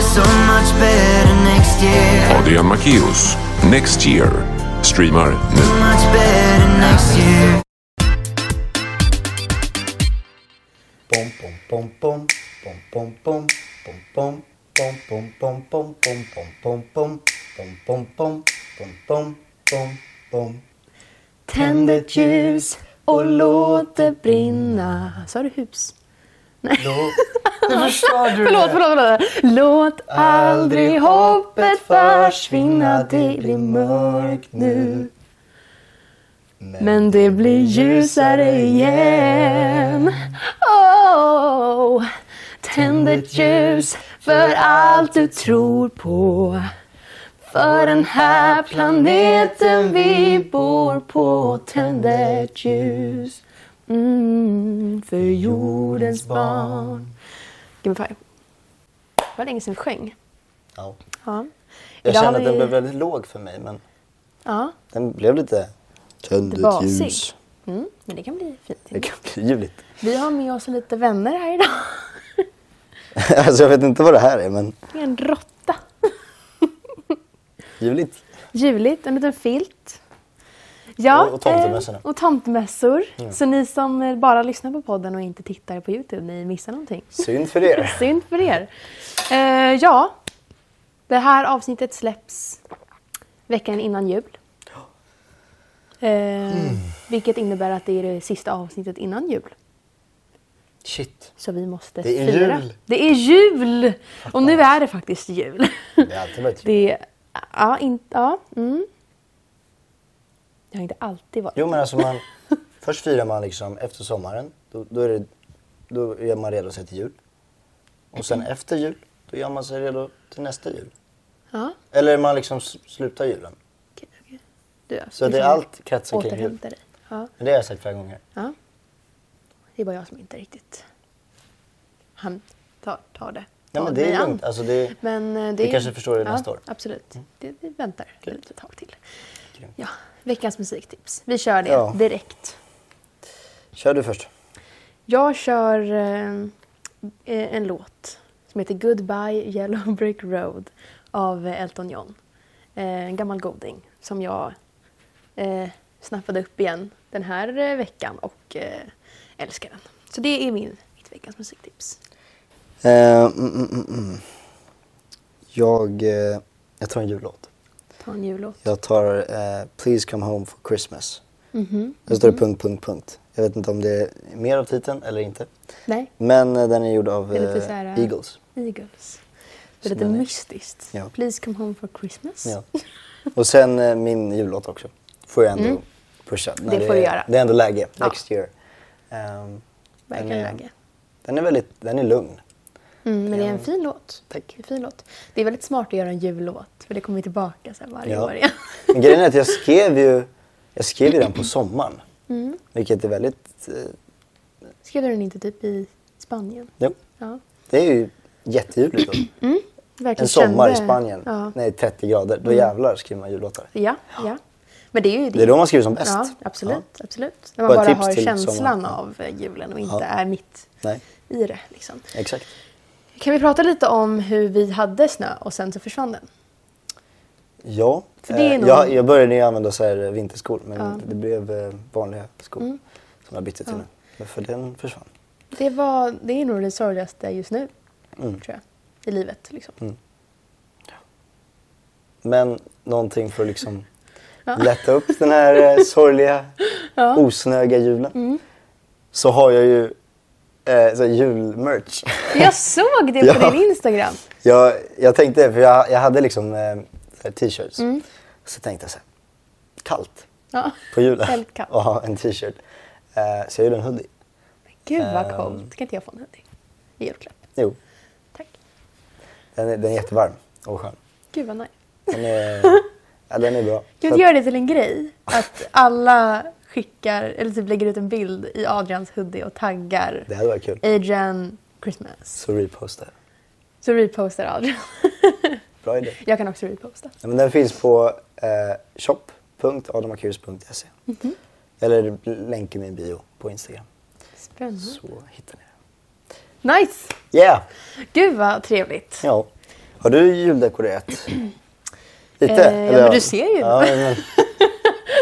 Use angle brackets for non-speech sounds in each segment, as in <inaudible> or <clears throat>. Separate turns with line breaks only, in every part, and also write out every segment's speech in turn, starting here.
so much better next year.
Adrian Macchius, Next Year, streamar nu.
So much better next year.
Pom, pom, pom, pom, pom, pom, pom, pom, pom, pom, pom, pom, pom, pom, pom, pom, pom, pom, pom, pom, pom, pom, pom, pom.
Tänd ett ljus och låt det brinna. Sa du hus?
Då... Nu förstår <laughs> du
Förlåt,
det.
förlåt, förlåt. Låt aldrig hoppet försvinna, det blir mörkt nu. Men det blir ljusare igen. Oh, tänd ett ljus för allt du tror på. För den här planeten vi bor på. Tänd ett ljus. Mm, för jordens barn. Give me five. Det var länge sedan vi sjöng.
Ja.
Ja.
Jag
Idag har
kände att den
vi-
blev väldigt låg för mig, men
Ja,
den blev lite... Tänd
lite
ett
basig.
ljus.
Mm, men det kan bli fint.
Det kan bli ljuvligt. <laughs>
Vi har med oss lite vänner här idag.
Alltså jag vet inte vad det här är, men
Det är en råtta.
ljuvligt.
Juligt, en liten filt. Ja,
Och- och tomtemössorna. Mm.
eh, Och tomtemössor. Så ni som eh, bara lyssnar på podden och inte tittar på Youtube, ni missar någonting.
Synd för er.
Synd för er. Eh, ja, det här avsnittet släpps veckan innan jul. Eh,
Mm.
Vilket innebär att det är det sista avsnittet innan jul.
Shit.
Så vi måste
Det är
fira.
jul.
Det är jul! Och nu är det faktiskt jul.
Det har alltid varit
<laughs> Det är... Ja, inte... Ja. Mm. Det har inte alltid varit.
Jo men alltså man, <laughs> först firar man liksom efter sommaren, då, då, är det, då gör man redo sig till jul. Och sen efter jul, då gör man sig redo till nästa jul.
Ja.
Eller man liksom s- slutar julen.
Okej, okej. Du,
Så det är
liksom
allt kretsar kring jul.
Återhämta dig. Ja.
Men det har jag sagt flera gånger.
ja. Det är bara jag som inte riktigt... Han tar, tar det.
Nej
Tar
men det
mig
är
an.
lugnt. Alltså det,
Men eh, det
Vi
är-
kanske förstår det
ja,
nästa år.
Absolut. Det, det väntar ett
Grymt.
litet tag till.
Grymt.
Ja, veckans musiktips. Vi kör det
Ja.
direkt.
Kör du först.
Jag kör eh, eh, en låt som heter Goodbye Yellow <laughs> Brick Road av eh, Elton John. Eh, En gammal goding som jag eh, snappade upp igen den här eh, veckan och eh, älskar den. Så det är min, mitt veckans musiktips.
Eh, mm, mm, mm, mm. Jag, eh, jag tar en jullåt.
Ta en jullåt.
Jag tar eh, Please come home for Christmas.
Mhm,
Där står det punkt, punkt, punkt. Jag vet inte om det är mer av titeln eller inte.
Nej,
Men eh, den är gjord av
Det är lite
eh,
så här, eh,
Eagles.
Eagles.
Så
Det är lite
den är-
mystiskt.
Ja.
Please come home for Christmas.
Ja. Och sen eh, min jullåt också. Får jag ändå pusha. när
Mm. Det får du
är-
göra.
Det är ändå läge.
Ja.
Next year. Ehm,
Verkligen
den är-
läge.
Den är väldigt, den är lugn.
Mm, men det är en
Ja.
fin låt. Det är, en fin låt. det är väldigt smart att göra en jullåt för det kommer tillbaka så här varje
Ja.
år igen. <laughs>
Men grejen är att jag skrev ju, jag skrev ju den på sommaren.
Mm.
Vilket är väldigt, eh,
Skrev du den inte typ i Spanien?
jo,
Ja.
det är ju jätteljuvligt
<clears throat>
då.
Verkligen
En sommar i
kände-
Spanien,
Ja. Mm.
när det är 30 grader, då jävlar skriver man jullåtar.
ja, ja. Men det är ju
Det är då man skriver som bäst.
Ja, absolut. absolut. När
Bara
man bara
tips
har
till
känslan
sommaren. Ja.
av eh, julen och inte
Ja.
är mitt
Nej,
i det. Liksom.
exakt.
Kan vi prata lite om hur vi hade snö och sen så försvann den?
Ja,
För det är
eh,
nog-
jag, jag började ju använda så här eh, vinterskor men det blev eh, vanliga skor
Mm.
som jag bytte till nu. Men För den försvann.
Det, var, det är nog det sorgligaste just nu,
Mm.
tror jag, i livet. Liksom.
Men någonting för att
<laughs>
liksom lätta upp den här eh, sorgliga, osnöiga julen.
Mm.
Så har jag ju eh, så här julmerch. <laughs>
Jag såg det på
Ja.
din Instagram.
jag, jag tänkte, för jag, jag hade liksom eh, så här t-shirts.
Mm.
Så tänkte jag så här, kallt <laughs>
Ja.
på julen.
Väldigt kallt.
Och ha en t-shirt. Eh, så jag gjorde en hoodie.
Gud vad
Ehm.
coolt. Kan inte jag få en hoodie i julklapp?
Jo,
Tack.
den är, den är jättevarm och skön.
Gud vad nice.
Den är,
<laughs>
ja, den är bra.
Kan
Så
vi
att-
göra det till en grej? Att alla skickar, eller typ lägger ut en bild i Adrians hoodie och taggar
Det hade varit kul.
Adrian Christmas.
Så reposta. jag.
Så repostar Adrian.
<laughs> Bra idé.
jag kan också reposta.
Ja, men den finns på eh, shop.adamakurus.se.
Mhm.
Eller länken i min bio på Instagram.
Spännande.
Så hittar ni
Nice!
det. Yeah!
Gud vad trevligt.
Ja. Har du
<clears throat>
juldekorerat? Lite?
Eh, ja, men du ser
<laughs>
ju.
Ja, men...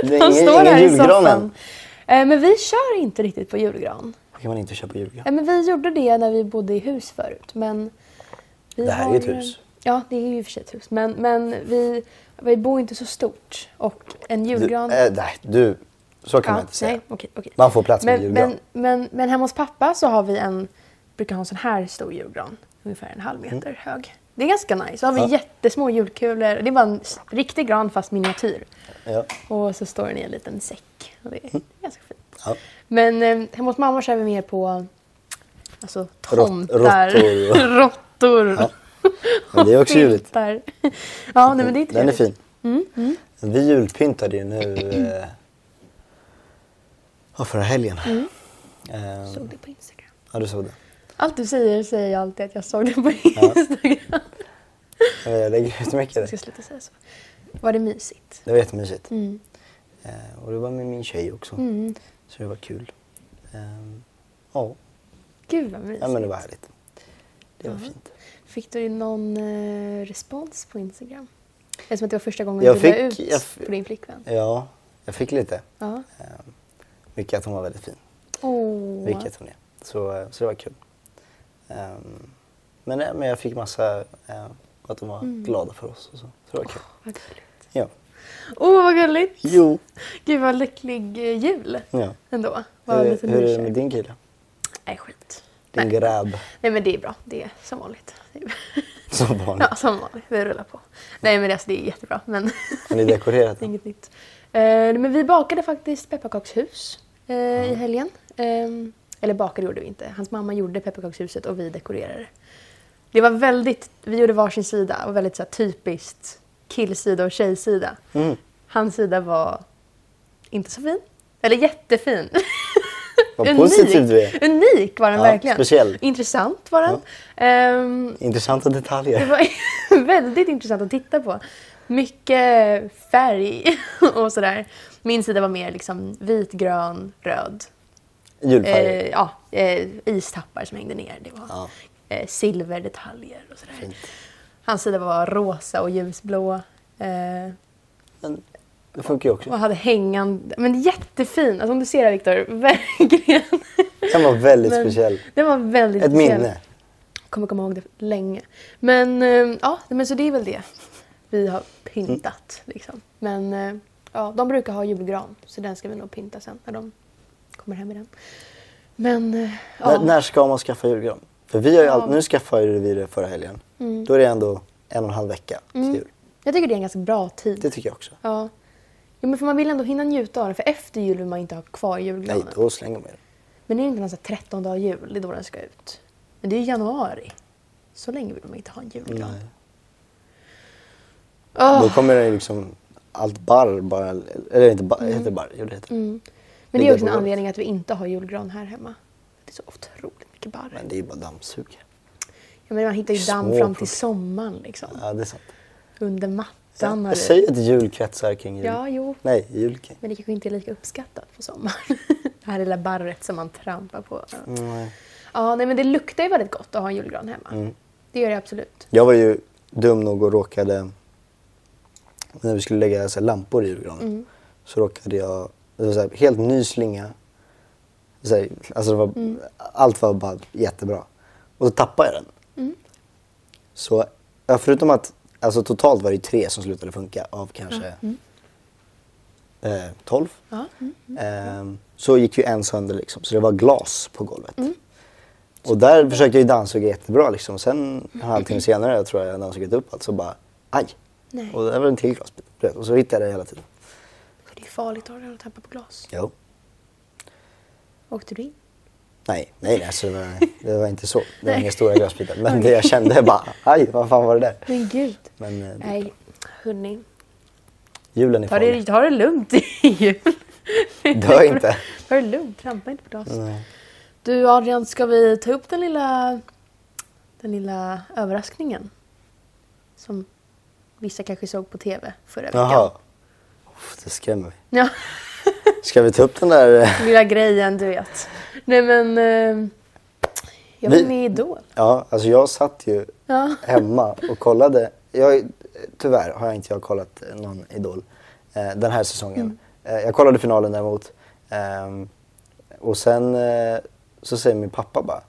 Det är
De
ingen,
står
ingen
här i
julgran
soffan.
än.
Eh, men vi kör inte riktigt på julgran.
kan man inte köpa julgran.
Eh, men vi gjorde det när vi bodde i hus förut. Men vi
Det här är
har-
ett hus.
Ja, det är ju i och för sig ett hus. Men, men vi, vi bor inte så stort. Och en
Du,
julgran...
eh, nej, du. Så kan
ja,
man inte säga.
nej, okej, okej.
Man får plats med
men,
julgran.
men, men, men hemma hos pappa så har vi en, brukar ha en sån här stor julgran. Ungefär en halv meter hög. Det är ganska nice. Så har vi
Mm. Ja.
jättesmå julkulor. Det är bara en s- riktig gran fast miniatyr.
Ja.
Och så står den i en liten säck. Och det är ganska fint.
Mm. Ja.
Men eh, hemma hos mamma kör vi mer på alltså,
Rott-
tomtar,
råttor
<laughs>
och-
råttor
Ja. Men det är också
och
juligt.
filtar. Ja, nej, men det är inte Mm,
Den är
juligt.
fin. Vi julpyntade ju nu
Mm.
eh, ja, förra helgen. Eh,
Mm. Såg det på Instagram.
ja, du såg det.
Allt du säger säger jag alltid att jag såg det på Instagram.
Eh, Jag lägger ut mycket
Jag
där.
ska sluta säga så. Var det mysigt? Mm,
Det var jättemysigt. Eh, och det var med min tjej också. Så det var kul. Eh, ja.
Gud vad mysigt.
ja, men det var härligt. Det var fint.
Fick du någon eh, respons på Instagram? Eftersom att det var första gången
Jag
du la
fick-
ut
jag f-
på din flickvän.
Ja, jag fick lite.
Ja.
Mycket att hon var väldigt fin.
Åh.
Vilket hon är. Så, eh, så det var kul. Ehm, men, eh, men jag fick massa eh, att de var
Mm.
glada för oss. Och så. så det var kul.
Vad gulligt.
Ja.
Åh, oh, vad gulligt.
Jo.
Gud vad lycklig eh, jul
Ja.
ändå. Var
Hur,
lite
hur är det
nykär.
med din kille?
Nej, skit.
Din
Nej.
grabb
Nej, men det är bra. Det är som vanligt. <laughs> Det är-
som barn.
ja, som vanligt. Vi rullar på. Nej, men det, alltså, det är jättebra. Men <laughs>
Har ni dekorerat
Det är
den?
Inget nytt. Eh, men vi bakade faktiskt pepparkakshus eh, i helgen. Eh, eller bakade gjorde vi inte. Hans mamma gjorde pepparkakshuset och vi dekorerade. Det var väldigt, vi gjorde varsin sida och väldigt så här, typiskt killsida och tjejsida.
Mm.
Hans sida var inte så fin. Eller jättefin. <laughs>
Vad positiv du är.
Unik var den
Ja,
verkligen.
speciell.
Intressant var den. Ehm,
Intressanta
det
detaljer.
var <laughs> väldigt intressant att titta på. Mycket färg <laughs> och sådär. Min sida var mer liksom vit, grön, röd.
Julfärger.
Eh, ja, eh, istappar som hängde ner. Det var
Ja.
eh, silverdetaljer och sådär.
Fint.
Hans sida var rosa och ljusblå. Eh,
Men det funkar ju
och
också.
hade hängande... Men jättefin! Alltså om du ser det Viktor, <laughs> verkligen.
Den var väldigt
Men
speciell.
Den var väldigt
Ett
speciell.
minne.
kommer komma ihåg det länge. Men eh, ja, men så det är väl det vi har pyntat.
Mm.
Liksom. Men eh, ja, de brukar ha julgran så den ska vi nog pynta sen när de kommer hem med den. Men eh, ja,
När, när ska man skaffa julgran? För vi har ju
Ja. Mm.
all... Nu skaffade vi det förra helgen. Då är det ändå en och en halv vecka till jul.
jag tycker det är en ganska bra tid.
Det tycker jag också.
Ja. Jo, men för man vill ändå hinna njuta av den för efter jul vill man inte ha kvar
Nej,
julgranen.
då slänger man ju den.
Men är det inte någon sån här 13 dag jul, det är då den ska ut. Men det är ju januari. Så länge vill man inte ha en julgran.
Nej.
Åh,
Mm. Då kommer det ju liksom allt barr bara, eller inte barr, heter det
Mm.
barr? Jo det heter det.
men det
ligger
är också
på
en
golvet.
anledning att vi inte har julgran här hemma. Det är så otroligt mycket barr.
Men det är ju bara dammsugare.
Ja, men man hittar ju damm
Små
fram till
problem.
sommaren liksom.
Ja det är sant.
Under mattan. har
jag
du-
säger att jul kretsar kring jul.
Ja, jo.
Nej, jul kring.
Men det kanske inte är lika uppskattat på sommaren. <laughs> det här lilla barret som man trampar på.
Nej.
Ja, nej, men det luktar ju väldigt gott att ha en julgran hemma.
Mm.
Det gör det absolut.
Jag var ju dum nog och råkade, när vi skulle lägga så här, lampor i julgranen, så råkade jag, det var så här, helt ny slinga. Så här, alltså det var,
Mm.
Allt var bara jättebra. Och så tappade jag den.
Mm.
Så ja, förutom att, alltså totalt var det ju tre som slutade funka av kanske eh, 12.
mm. Ja. mm,
Ehm, så gick ju en sönder liksom, så det var glas på golvet.
Mm.
Och där försökte jag ju dammsuga jättebra liksom. Sen en halvtimme senare, jag tror jag hade dammsugit upp allt, så bara aj.
Nej.
Och där var en till glasbit. du vet. Och så hittade jag det hela tiden.
Det är ju farligt att ha den och tappa på glas.
Jo.
Åkte du in?
Nej, nej, nej, alltså, det, var, det var inte så. Det var inga stora glasbitar. Men det jag kände bara, aj, vad fan var det där?
Men gud.
Men eh,
Nej, hörni.
julen är
Ta det,
farlig.
ta det lugnt i jul.
Dö
<laughs>
inte.
Ta det lugnt, trampa inte på glas.
Nej.
Du Adrian, ska vi ta upp den lilla, den lilla överraskningen? Som vissa kanske såg på TV förra veckan.
Jaha. Uff, det skrämmer mig.
Ja,
Ska vi ta upp den där? eh,
lilla grejen du vet. Nej men, eh, jag var
Vi-
med i Idol.
Ja, alltså jag satt ju
Ja.
hemma och kollade. Jag, tyvärr har jag inte jag kollat någon Idol eh, den här
Mm.
säsongen. Eh, jag kollade finalen däremot. Ehm, och sen eh, så säger min pappa bara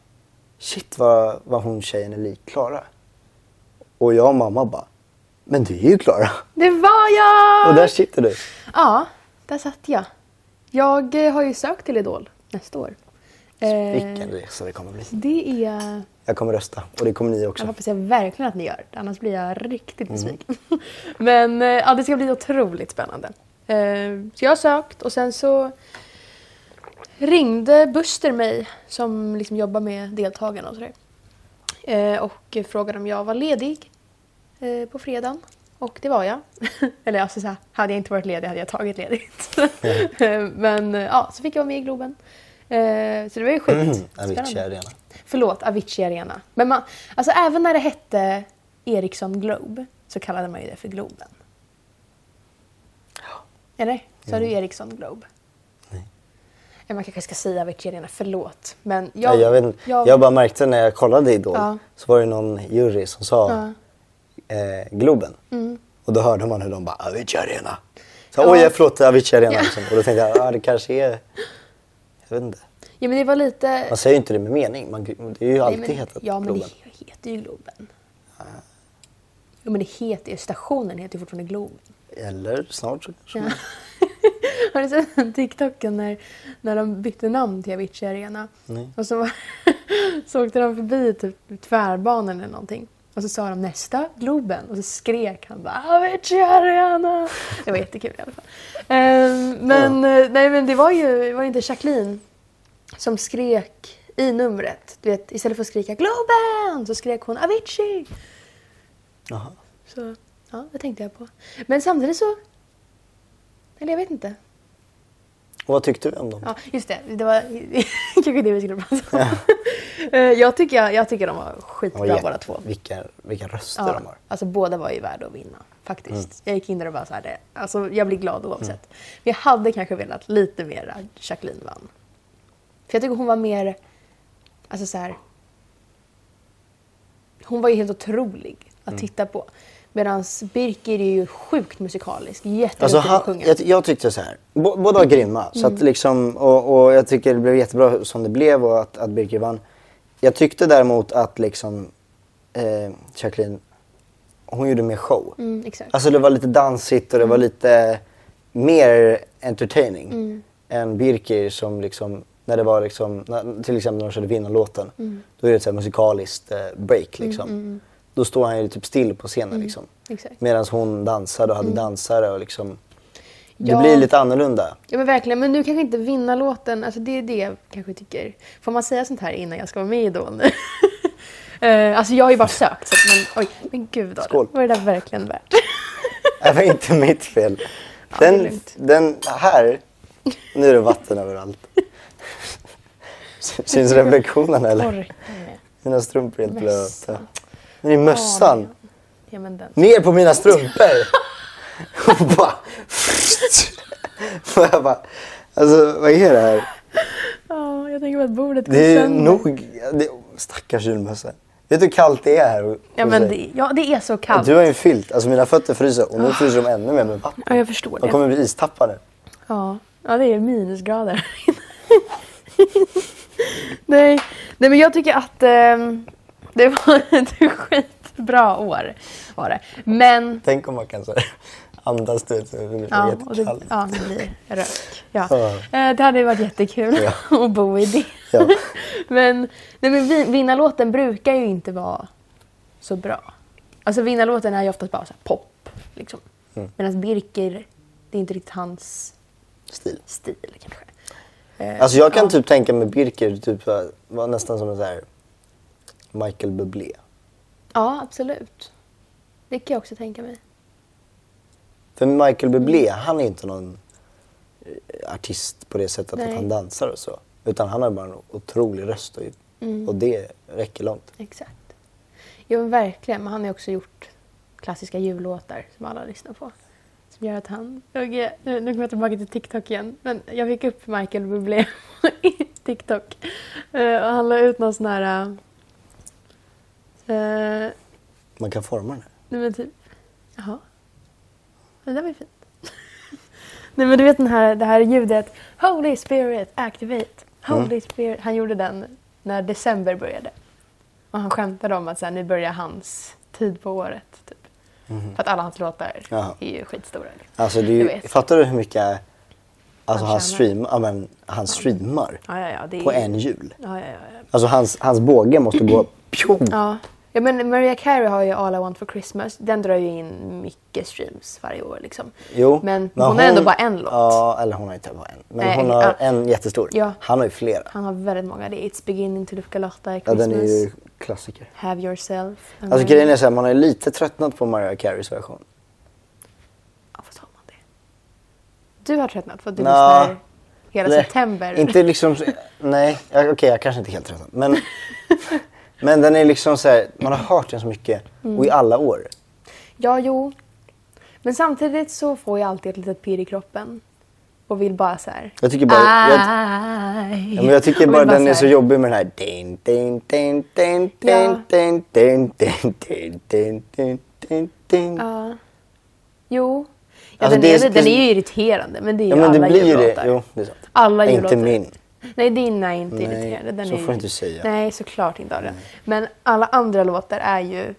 Shit vad, vad hon tjejen är lik Klara. Och jag och mamma bara Men det är ju Klara.
Det var jag!
Och där sitter du.
Eh. Ja, där satt jag. Jag eh, har ju sökt till Idol nästa år. Eh,
Vilken resa det kommer bli.
Det är...
Jag kommer rösta och det kommer ni <clears throat>
Jag
också.
hoppas jag verkligen att ni gör det, annars blir jag riktigt besviken. <laughs> Men eh, ja, det ska bli otroligt spännande. Eh, Så jag har sökt och sen så ringde Buster mig som liksom jobbar med deltagarna och sådär. Eh, Och frågade om jag var ledig eh, på fredagen. Och det var jag. <laughs> Eller alltså så här, hade jag inte varit ledig hade jag tagit ledigt. <laughs> Eh, Men eh, ja, så fick jag vara med i Globen. Eh, Så det var ju
Mm.
sjukt.
Avicii
Spännande.
Arena.
Förlåt, Avicii Arena. Men man, alltså även när det hette Ericsson Globe så kallade man ju det för Globen. Eller? Sa du Ericsson Globe?
Mm. Nej.
Ja, Man kanske ska säga Avicii Arena, förlåt. Men jag...
Jag, jag, vet, inte.
jag-
jag bara märkte när jag kollade Idol
Ja.
så var det någon jury som sa eh, Globen. Och då hörde man hur de bara Avicii Arena. Så,
Mm. Ja.
Oj, förlåt Avicii Arena.
Ja.
Liksom. Och då tänkte jag, ah, det kanske är... Jag vet inte.
Ja, men det var lite...
Man säger ju inte det med mening. Man, det är ju alltid
Nej, men,
hetat
Ja, men
Globen.
det heter ju Globen. Jo, men det heter ju... Stationen heter ju fortfarande Globen.
Eller snart så kanske man-
<laughs> Har du sett den TikToken när, när de bytte namn till Avicii Arena? Och så, var, <laughs> så åkte de förbi typ tvärbanan eller någonting. Och så sa de nästa, Globen. Och så skrek han bara Avicii Arena. Det var jättekul i alla fall. Ehm, men, eh, nej, men det var ju det var ju inte Jacqueline som skrek i numret. Du vet, istället för att skrika Globen så skrek hon Avicii.
Jaha.
Så ja, det tänkte jag på. Men samtidigt så... Eller jag vet inte.
Och vad tyckte du om dem?
Ja, just det. Det var <laughs> kanske det vi skulle prata om. <laughs> Eh, jag, tycker, jag, tycker de var
De
skitbra
var jätte-
båda två.
Vilka, vilka röster
Ja,
de Mm. har.
alltså båda var ju värda att vinna faktiskt. Jag gick in där och bara så här, det- alltså jag blir
Mm.
glad oavsett. Men jag hade kanske velat lite mer att Jacqueline vann. För jag tycker hon var mer, alltså så här. Hon var ju helt otrolig att
Mm.
titta på. Medan Birker är ju sjukt musikalisk, jätteduktig
Alltså,
på
han,
att sjunga.
jag, jag tyckte så här. Bå- båda var grymma. Så att liksom, och, och jag tycker det blev jättebra som det blev och att, att Birger vann. Jag tyckte däremot att liksom, eh, Jacqueline, hon gjorde mer show.
Mm, exakt.
Alltså det var lite dansigt och det
Mm.
var lite mer entertaining än Birker som liksom, när det var liksom, när, till exempel när de körde vinnarlåten,
Mm.
då är det ett så här musikaliskt eh, break liksom. Då står han ju typ still på scenen liksom.
Mm, exakt. Mm.
Medan hon dansade och hade dansare och liksom, det
Ja.
blir lite annorlunda.
Ja men verkligen, men nu kanske inte vinna låten. Alltså det är det jag kanske tycker. Får man säga sånt här innan jag ska vara med i Idol <laughs> nu? Eh, alltså jag har ju bara sökt. Så, att- men, oj, men gud Adam,
Skål.
var det där verkligen värt?
Det var inte
<laughs>
mitt fel.
det är
Den,
lugnt.
den här, nu är det vatten
<laughs>
överallt. Syns reflektionen eller?
Orkar jag?
Mina strumpor är helt blöta.
Mössan.
Men i mössan.
Ja men den.
Ner på mina strumpor! Och bara... Och jag bara... Alltså vad är det här?
Ja, jag tänker på att bordet går
Det är
sönder.
nog... Det, stackars julmössa. Vet du hur kallt det är här hos
Ja men
dig?
det, ja, det är så kallt. Ah.
Du har ju filt. Alltså mina fötter fryser och nu fryser de ännu mer med vatten.
Ja jag förstår
De
det.
kommer bli istappade.
Ja. ja, det är minusgrader. <laughs> Nej. Nej, men jag tycker att ehm, det var <laughs> ett skitbra år. Var det. Men
Tänk om man kan så här, <laughs> andas du vet, så det blir
Ja, och det,
jättekallt.
ja, det blir rök. Ja.
Ja.
Eh, Det hade ju varit jättekul <laughs> att bo i det.
Ja.
Men, nej, men vin- vinnarlåten brukar ju inte vara så bra. Alltså vinnarlåten är ju oftast bara så här pop. Liksom.
Mm.
Medan Birker, det är inte riktigt hans
Stil.
stil kanske. Eh,
Alltså jag kan
ja.
typ tänka mig Birker typ så här, var nästan som en så här Michael Bublé.
Ja, absolut. Det kan jag också tänka mig.
För Michael Bublé,
Mm.
han är inte någon eh, artist på det sättet
Nej.
att han dansar och så. Utan han har bara en otrolig röst och,
Mm.
och det räcker långt.
Exakt. Jo, men verkligen. Men han har ju också gjort klassiska jullåtar som alla lyssnar på. Som gör att han... Jag, nu nu kommer jag tillbaka till TikTok igen. Men jag fick upp Michael Bublé <laughs> i TikTok. Eh, och han la ut någon sån här... eh,
Man kan forma den här.
Nej men typ. Jaha. Det där var ju fint. <laughs> Nej men du vet den här, det här ljudet. Holy Spirit activate. Holy Spirit. Han gjorde den när december började. Och han skämtade om att så här, nu börjar hans tid på året. Typ. För att alla hans låtar
Mhm. Jaha.
är ju skitstora. liksom.
Alltså det
Jag
är ju,
vet.
fattar du hur mycket alltså,
Han
han,
tjänar.
stream, ja, men, han streamar
Ja, ja, ja, det är...
på en jul?
Ja, ja, ja. ja.
Alltså hans, hans båge måste
<clears throat>
gå... Pjo!
Ja. ja, men Mariah Carey har ju All I Want For Christmas. Den drar ju in mycket streams varje år liksom.
Jo,
men, hon har ändå bara en låt.
Ja, eller hon har inte bara en. Men
Nej,
hon har
ja.
en jättestor.
Ja.
Han har ju flera.
Han har väldigt många. Det är It's beginning to look a lot like
Ja,
Christmas.
den
Mm.
är ju klassiker.
Have yourself. a
Alltså
merry-
grejen är såhär, man har ju lite tröttnat på Mariah Careys version.
Ja, fast har man det? Du har tröttnat för att du
Nå.
lyssnar hela
Nej,
september.
Inte liksom, nej, ja, okej jag kanske inte är helt tröttnat.
<laughs>
Men, men den är liksom såhär, man har hört den så mycket
Mm.
och i alla år.
Ja, jo. Men samtidigt så får jag alltid ett litet pirr i kroppen. Och vill bara så här...
Jag tycker bara, jag,
Aj.
ja, men jag tycker
Ah, Och
bara
vill
den är så
här-
jobbig med den här din din din din
Ja.
din din din din din din din din din
Ja. Jo. Ja,
Alltså,
den,
det
är,
är-
den är ju irriterande, men det är ju
Ja men
alla
det blir ju det.
jullåtar.
Jo, det är sant.
Alla
Inte
jullåtar.
min.
Nej, din är inte
Nej,
irriterande. Den
så
är
får
ju-
du inte säga.
Nej, såklart inte Adrian. Men alla andra låtar är ju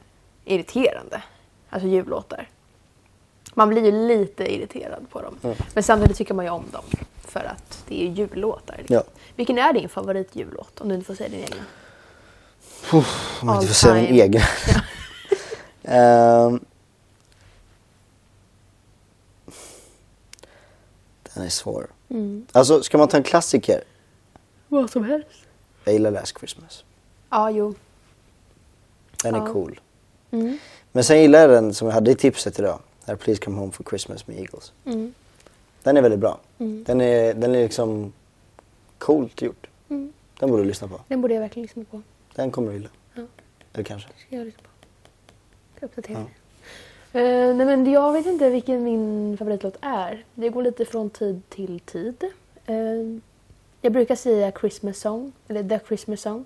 irriterande. Alltså jullåtar. Man blir ju lite irriterad på dem.
Mm.
Men samtidigt tycker man ju om dem. För att det är ju jullåtar. liksom.
Ja.
Vilken är din favoritjullåt? Om du inte får säga din egna.
Om man inte
All
får säga den
time. <laughs>
egen. Ehm. den är svår. Alltså, ska man ta en klassiker?
Mm. Vad som helst.
Jag gillar Last Christmas.
Ja, jo.
Den är
Ja.
cool.
Mm.
Men sen gillar jag den som jag hade i tipset idag. Här, Please Come Home for Christmas med Eagles.
Mm.
Den är väldigt bra. Den, är, den är liksom coolt gjord.
Mm.
Den borde du lyssna på.
Den borde jag verkligen lyssna på.
Den kommer du gilla. Eller kanske.
Ska jag lyssna på. Ska jag uppdatera mig. Eh, nej men jag vet inte vilken min favoritlåt är. Det går lite från tid till tid. Eh, jag brukar säga Christmas song, eller The Christmas song.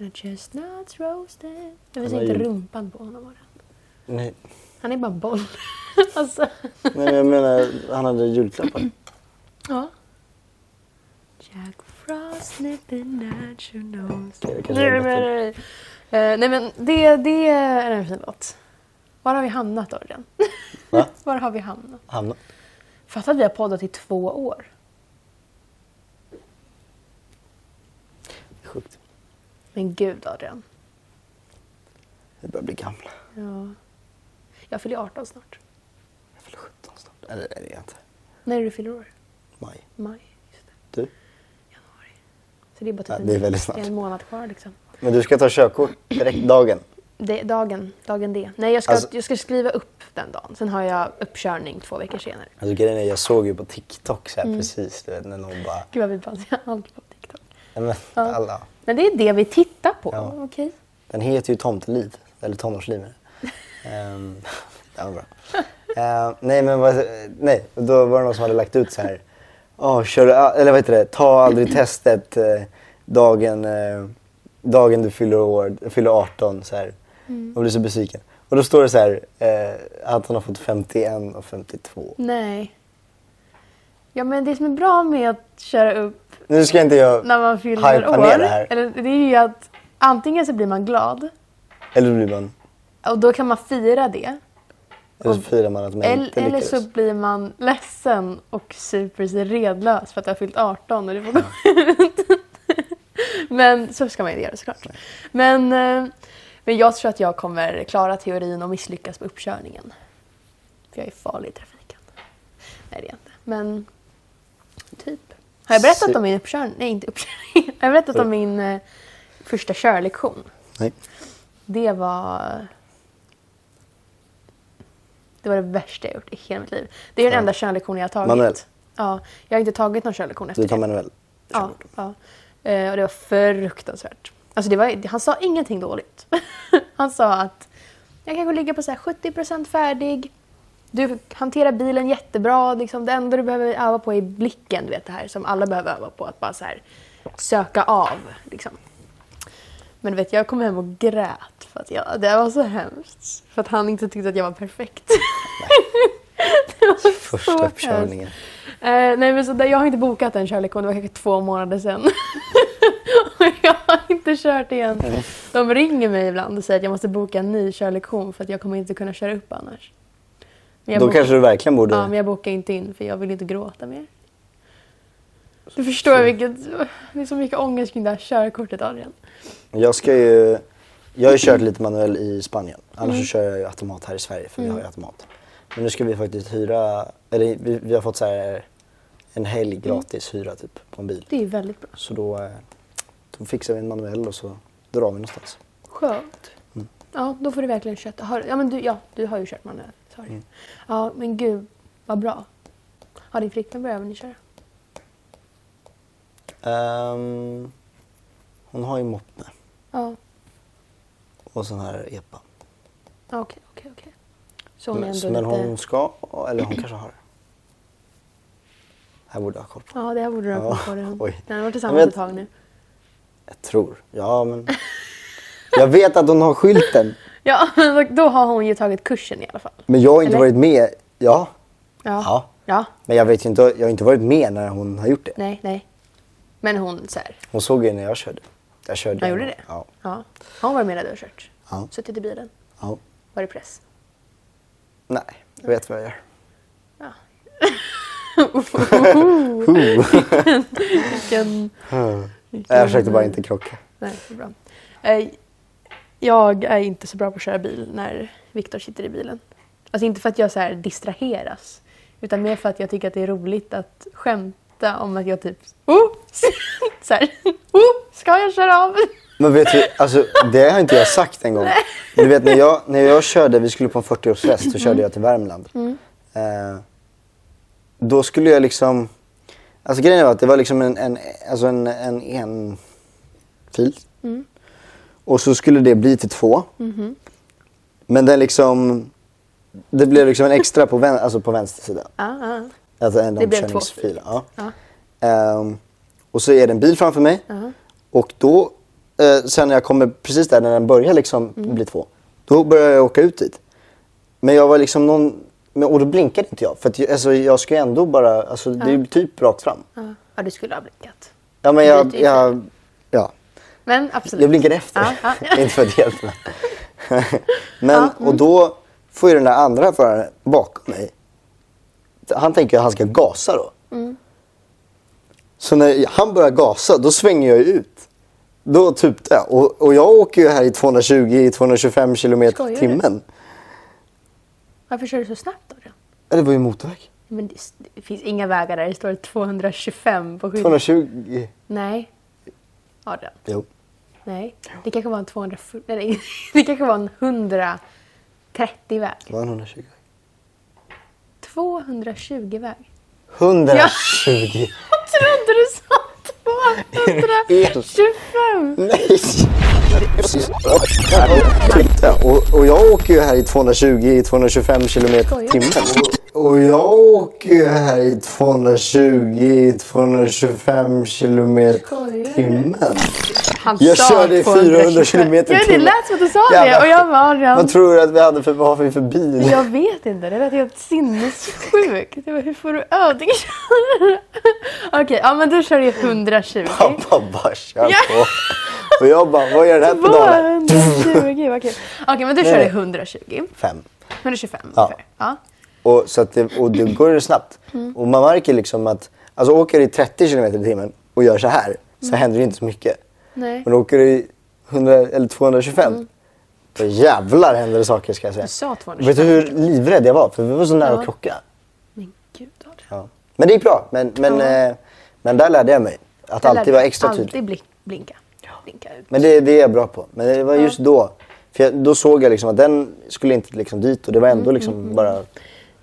And chestnuts roasted. Jag vill
Han har
inte
ju-
rumpan på honom. Bara.
Nej,
Han är bara en boll. <laughs> alltså,
men jag menar, han hade
<laughs>
julklappar.
ja. Jack Frost nipping at your nose.
Okej, det kanske var
Nej, nej,
bättre.
nej. Eh, nej men det, det är en fin låt. Var har vi hamnat Adrian?
Va?
Var har vi hamnat?
Hamnat.
Fatta att vi har poddat i två år.
Sjukt.
Men gud Adrian.
Vi börjar bli gamla.
Ja. Jag fyller 18 snart.
Jag fyller 17 snart. Eller nej, det är jag inte.
När är du fyller år?
Maj.
Maj. Just det.
Du?
Så det är bara typ
Ja,
en-
det är väldigt snart.
det är en månad kvar liksom.
Men du ska ta körkort direkt dagen.
Det, dagen, dagen D. Nej jag ska,
Alltså-
jag ska skriva upp den dagen. Sen har jag uppkörning två veckor senare.
Alltså grejen är, jag såg ju på TikTok så här precis, du vet, när någon bara...
Gud vad vi bara ser <laughs> allt på TikTok.
Nej, men,
Ja.
alla.
Men det är det vi tittar på.
Ja.
Okej.
Den heter ju Tomteliv, eller
<laughs>
Tonårsliv menar jag. Ehm, <laughs> Det var bra. Ehm, nej men vad, nej, då var det någon som hade lagt ut så här. "Åh, kör, a- eller vad heter det, ta aldrig testet eh, dagen, eh, dagen du fyller, år, fyller 18 så här.
Mm.
Man blir så besviken. Och då står det så här eh, att han har fått 51 och 52.
Nej. Ja men det som är bra med att köra upp
Nu ska inte jag
när man fyller
hypa
år.
ner det här. Eller,
Eller, det är ju att antingen så blir man glad
blir man,
och då kan man fira det.
eller så
Och-
firar man att man
Eller,
inte
eller
lyckades.
så blir man ledsen och super sig redlös för att du har fyllt 18 och du får <laughs> gå ut. Men så ska man inte göra såklart. Men, eh, men jag tror att jag kommer klara teorin och misslyckas på uppkörningen. För jag är farlig i trafiken. Nej det är jag inte. Men typ. Har jag berättat
Så-
om min uppkörning? Nej inte uppkörning. <laughs> Har jag berättat om min eh, första körlektion?
Nej.
Det var... Det var det värsta jag gjort i hela mitt liv. Det är den
Ja.
enda körlektion jag har tagit.
Manuell.
Ja, jag har inte tagit någon körlektion efter
Du tar
det.
manuell.
Ja, ja. Eh, Och det var fruktansvärt. Alltså det var, han sa ingenting dåligt. <laughs> han sa att jag kanske ligger på så här 70 färdig. Du hanterar bilen jättebra. Liksom. Det enda du behöver öva på är blicken. Du vet det här som alla behöver öva på. Att bara så här, söka av. Liksom. Men du vet, jag kom hem och grät för att jag, det var så hemskt. För att han inte tyckte att jag var perfekt. det var så
Första
hemskt.
uppkörningen.
Eh, nej men så där, jag har inte bokat en körlektion, det var kanske två månader sedan. <laughs> Och jag har inte kört igen. De ringer mig ibland och säger att jag måste boka en ny körlektion för att jag kommer inte kunna köra upp annars. Men jag
Då
bokar-
kanske du verkligen borde...
Ja, men jag bokar inte in för jag vill inte gråta mer. Du förstår vilket... Det är så mycket ångest kring det här körkortet, Adrian.
Jag ska ju... Jag har ju
<clears throat>
kört lite manuell i Spanien. Annars
Mm.
så kör jag ju automat här i Sverige för vi har ju automat. Men nu ska vi faktiskt hyra... Eller vi, vi har fått så här en helg
Mm.
gratis hyra typ på en bil.
Det är ju väldigt bra.
Så då, eh, då fixar vi en manuell och så drar vi någonstans.
Skönt.
Mm.
Ja, då får du verkligen köta. Har, ja, men du, ja, du har ju kört manuellt. Sorry.
Mm.
Ja, men gud vad bra. Har din flickvän börjat även köra?
Ehm, hon har ju moppe
Ja,
och sån här epa.
Ja, okej, okej, okej. Så hon är
men
ändå
men
lite...
hon ska, eller hon kanske har det. Här borde jag ha koll på.
Ja, det här borde du ha
Ja,
kommit på redan.
oj.
Den har varit
Jag
tillsammans
vet-
ett tag nu.
Jag tror. Ja,
<laughs>
men... Jag vet att hon har skylten.
Ja, <laughs> men då har hon ju tagit kursen i alla fall.
Men jag har inte
Eller?
varit med. Ja.
Ja.
Ja.
Ja.
Men jag, vet ju inte, jag har inte varit med när hon har gjort det.
Nej, nej. Men hon så här.
Hon såg ju när jag körde. Jag körde.
Han gjorde det?
Ja.
ja. Har hon varit med när du har kört?
Ja.
Suttit i bilen?
ja.
Var det press?
Nej, jag vet vad jag gör.
Vilken...
Hm. Jag försökte bara inte krocka.
Nej, det är bra. Eh, Jag är inte så bra på att köra bil när Viktor sitter i bilen. Alltså inte för att jag så här distraheras, utan mer för att jag tycker att det är roligt att skämta om att jag typ... Oh! <laughs> Så här, oh! Ska jag köra av?
Men vet du, alltså, det har inte jag sagt en gång. Men Du vet när jag, när jag körde, vi skulle på en 40-årsfest, då körde jag till Värmland. Eh, då skulle jag liksom, alltså grejen var att det var liksom en, en, alltså en, en, en fil. Och så skulle det bli till två. Men den liksom, det blev liksom en extra på, vän, alltså på vänster sida.
Ah, ah.
Alltså en
Det blev
omkörningsfil.
två
Ja. Ehm, och så är det en bil framför mig. Och då, eh, sen när jag kommer precis där när den börjar liksom bli två, då börjar jag åka ut dit. Men jag var liksom någon, men, och då blinkade inte jag. För att, jag- alltså, jag ska ju ändå bara, alltså, det är ju typ rakt fram.
Ah. Ja, du skulle ha blinkat.
Ja, men
Du
jag,
byter ju
jag, ja.
Men absolut.
jag blinkade efter.
Ja,
<laughs>
ja. mm.
inte för att hjälpa
<laughs>
mig. men, och då får ju den där andra föraren bakom mig, han tänker att han ska gasa då.
Mm.
Så när han börjar gasa, då svänger jag ju ut. Då tutar jag. Och, och jag åker ju här i 220-225 kilometer i
Skojar du?
timmen.
Varför kör du så snabbt då? Adrian?
Ja, det var ju motorväg.
Men det, det finns inga vägar där det står 225 på skylten.
220...
Nej. Adrian.
Jo.
Nej, det kanske var en 240, nej, nej, <laughs> det kanske var en 130-väg.
Det var en 120.
220-väg.
120!
Jag trodde du sa 225!
Nej! Och, och jag åker ju här i 220-225 kilometer i
Skojar.
timmen. Och, och jag åker ju här i 220-225 kilometer i
Skojar.
timmen.
Han
Jag
sa
körde i 400
225.
kilometer i
Ja, det
timmen.
lät som att du sa det
Jävlar.
och jag var
Vad
Adrian.
tror du att vi hade för, vad har vi för bil?
Jag vet inte, det lät helt sinnessjukt. Jag bara, Hur får du övning? <laughs> Okej, ja men du kör ju 120.
Pappa bara kör på. Och jag bara, vad gör det här på dagen?
220, vad kul. Okej, men du kör
Nej.
ju 120.
Fem.
125
Ja.
ungefär. Ja.
Och, så att det, och då går det snabbt.
Mm.
Och man märker liksom att, alltså åker du i 30 kilometer i timmen och gör så här, så händer det inte så mycket.
Mm. Nej. Mm.
Men åker du i 100, eller 225, då jävlar händer det saker ska jag säga.
Du sa 225.
Vet du hur livrädd jag var? För vi var så nära
Ja.
att krocka.
Men gud Adrian.
Ja. Men det gick bra. Men, men,
Ja.
eh, men där lärde jag mig att
Eller
alltid vara extra tydlig.
Alltid blink, blinka. Blinka ut.
Men det, det är jag bra på. Men det var just då. För jag, då såg jag liksom att den skulle inte liksom dit och det var
Mm,
ändå liksom bara...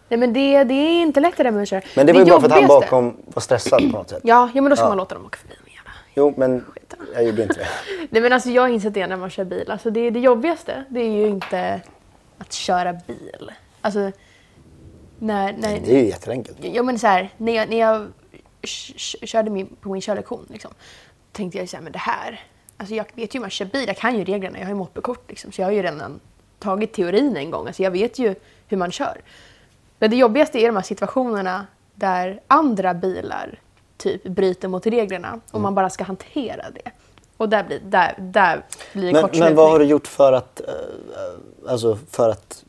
Nej men det, det är inte lätt det där med att köra.
Men det var ju bra för att han
jobbigaste-
bakom var stressad på något sätt.
Ja, ja men då ska
Ja.
man låta dem åka förbi. Men jävla.
Jo, men
Skitsamma.
jag gjorde inte
<laughs>
det.
Nej men alltså jag har insett det när man kör bil. Alltså det, det jobbigaste det är ju inte att köra bil. Alltså när... när
Det är ju jätteenkelt.
Ja men så här, när jag, när jag k- k- körde min, på min körlektion liksom, tänkte jag ju så här, men det här, Alltså jag vet ju hur man kör bil, jag kan ju reglerna, jag har ju moppekort liksom, så jag har ju redan tagit teorin en gång. Alltså jag vet ju hur man kör. Men det jobbigaste är de här situationerna där andra bilar typ bryter mot reglerna
Mm.
och man bara ska hantera det. Och där blir, där, där blir
Men,
kortslutning.
men vad har du gjort för att, eh, alltså för att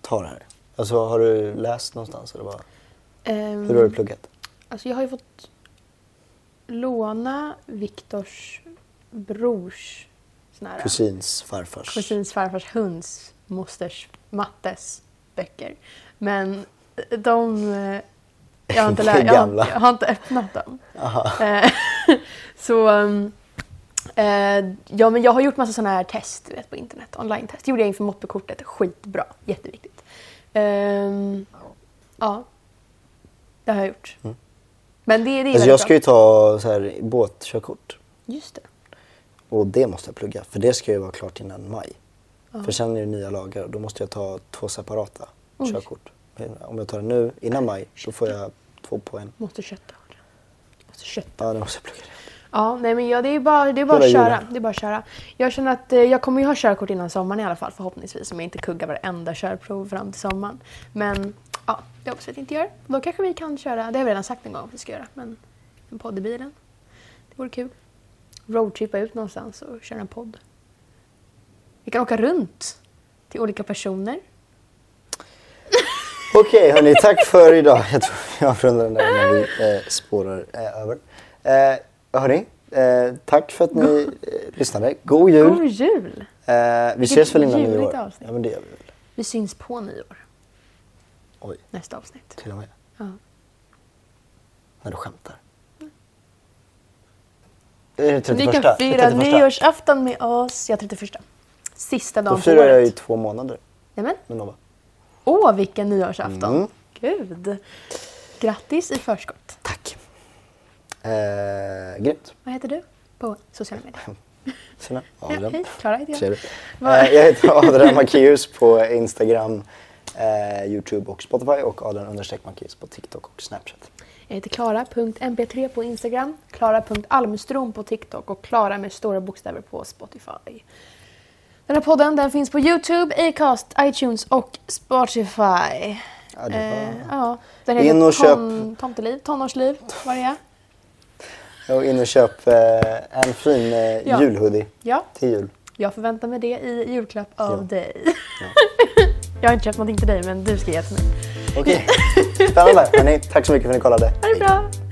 ta det här? Alltså har du läst någonstans? Eller vad?
Ehm,
Hur har du pluggat?
Alltså jag har ju fått låna Viktors brors sån här,
Kusins farfars?
kusins farfars hunds mosters mattes böcker. Men de... eh, Jag har
<laughs>
inte,
De är
lä- jag har,
gamla.
jag har inte öppnat dem. Eh, <laughs> Så... um, eh, Ja, men jag har gjort massa sådana här test du vet, på internet. Online-test. Det gjorde jag inför moppekortet. Skitbra. Jätteviktigt. Ehm, Ja. Det har jag gjort. Men det, det är
Mm. Alltså
väldigt
jag ska
bra.
ju ta så här, båtkörkort.
Just det.
Och det måste jag plugga, för det ska ju vara klart innan maj. För sen är det nya lagar och då måste jag ta två separata
Oj.
körkort. Om jag tar det nu, innan maj, då får jag två på en.
Måste kötta. Måste kötta.
Ja, då måste jag plugga det.
Ja, nej men ja, det är bara, det är bara
Hela
att köra.
julen.
Det är bara att köra. Jag känner att eh, jag kommer ju ha körkort innan sommaren i alla fall förhoppningsvis om jag inte kuggar varenda körprov fram till sommaren. Men ja, det hoppas jag att jag inte gör. Då kanske vi kan köra, det har vi redan sagt en gång att vi ska göra, men en podd i bilen. Det vore kul. Roadtrippa ut någonstans och köra en podd. Vi kan åka runt till olika personer.
Okej hörni, tack för idag. Jag tror vi avrundar den där innan vi eh, spårar eh, över. Eh, hörni, eh, tack för att ni eh, lyssnade. God jul!
God jul!
Eh, vi
Vilket
ses väl innan
juligt
nyår?
avsnitt.
Ja, men det gör vi väl.
Vi syns på nyår,
Oj,
nästa avsnitt.
till och med.
Ja.
När du skämtar. Är det 31?
Ni kan fira
31?
nyårsafton med oss. Jag 31. Sista dagen
Då
på
firar jag i
året.
två månader
Nämen.
med Nova.
Åh, vilken nyårsafton.
Mm.
Gud. Grattis i förskott.
Tack. Eh, grymt.
Vad heter du på sociala
<laughs>
medier?
Tjena,
Ja,
Adrian.
hej, Klara heter jag.
Ser du?
Vad-
Eh, jag heter Adrian Macéus på Instagram, eh, Youtube och Spotify och Adrian understreck Macéus på TikTok och Snapchat.
Jag heter klara.mp3 på Instagram, klara.almstrom på TikTok och klara med stora bokstäver på Spotify. Den här podden den finns på Youtube, Acast, iTunes och Spotify.
Ja, det var-
Eh, ja, den
In
heter
och köp-
ton, Tomteliv, Tonårsliv, vad det är.
Och in och köp eh, en fin eh,
Ja.
julhoodie
Ja.
till jul.
Jag förväntar mig det i julklapp av
Ja.
dig. <laughs> jag har inte köpt någonting till dig, men du ska ge till mig.
Okej, spännande. Hörni, tack så mycket för att ni kollade.
Ha det bra!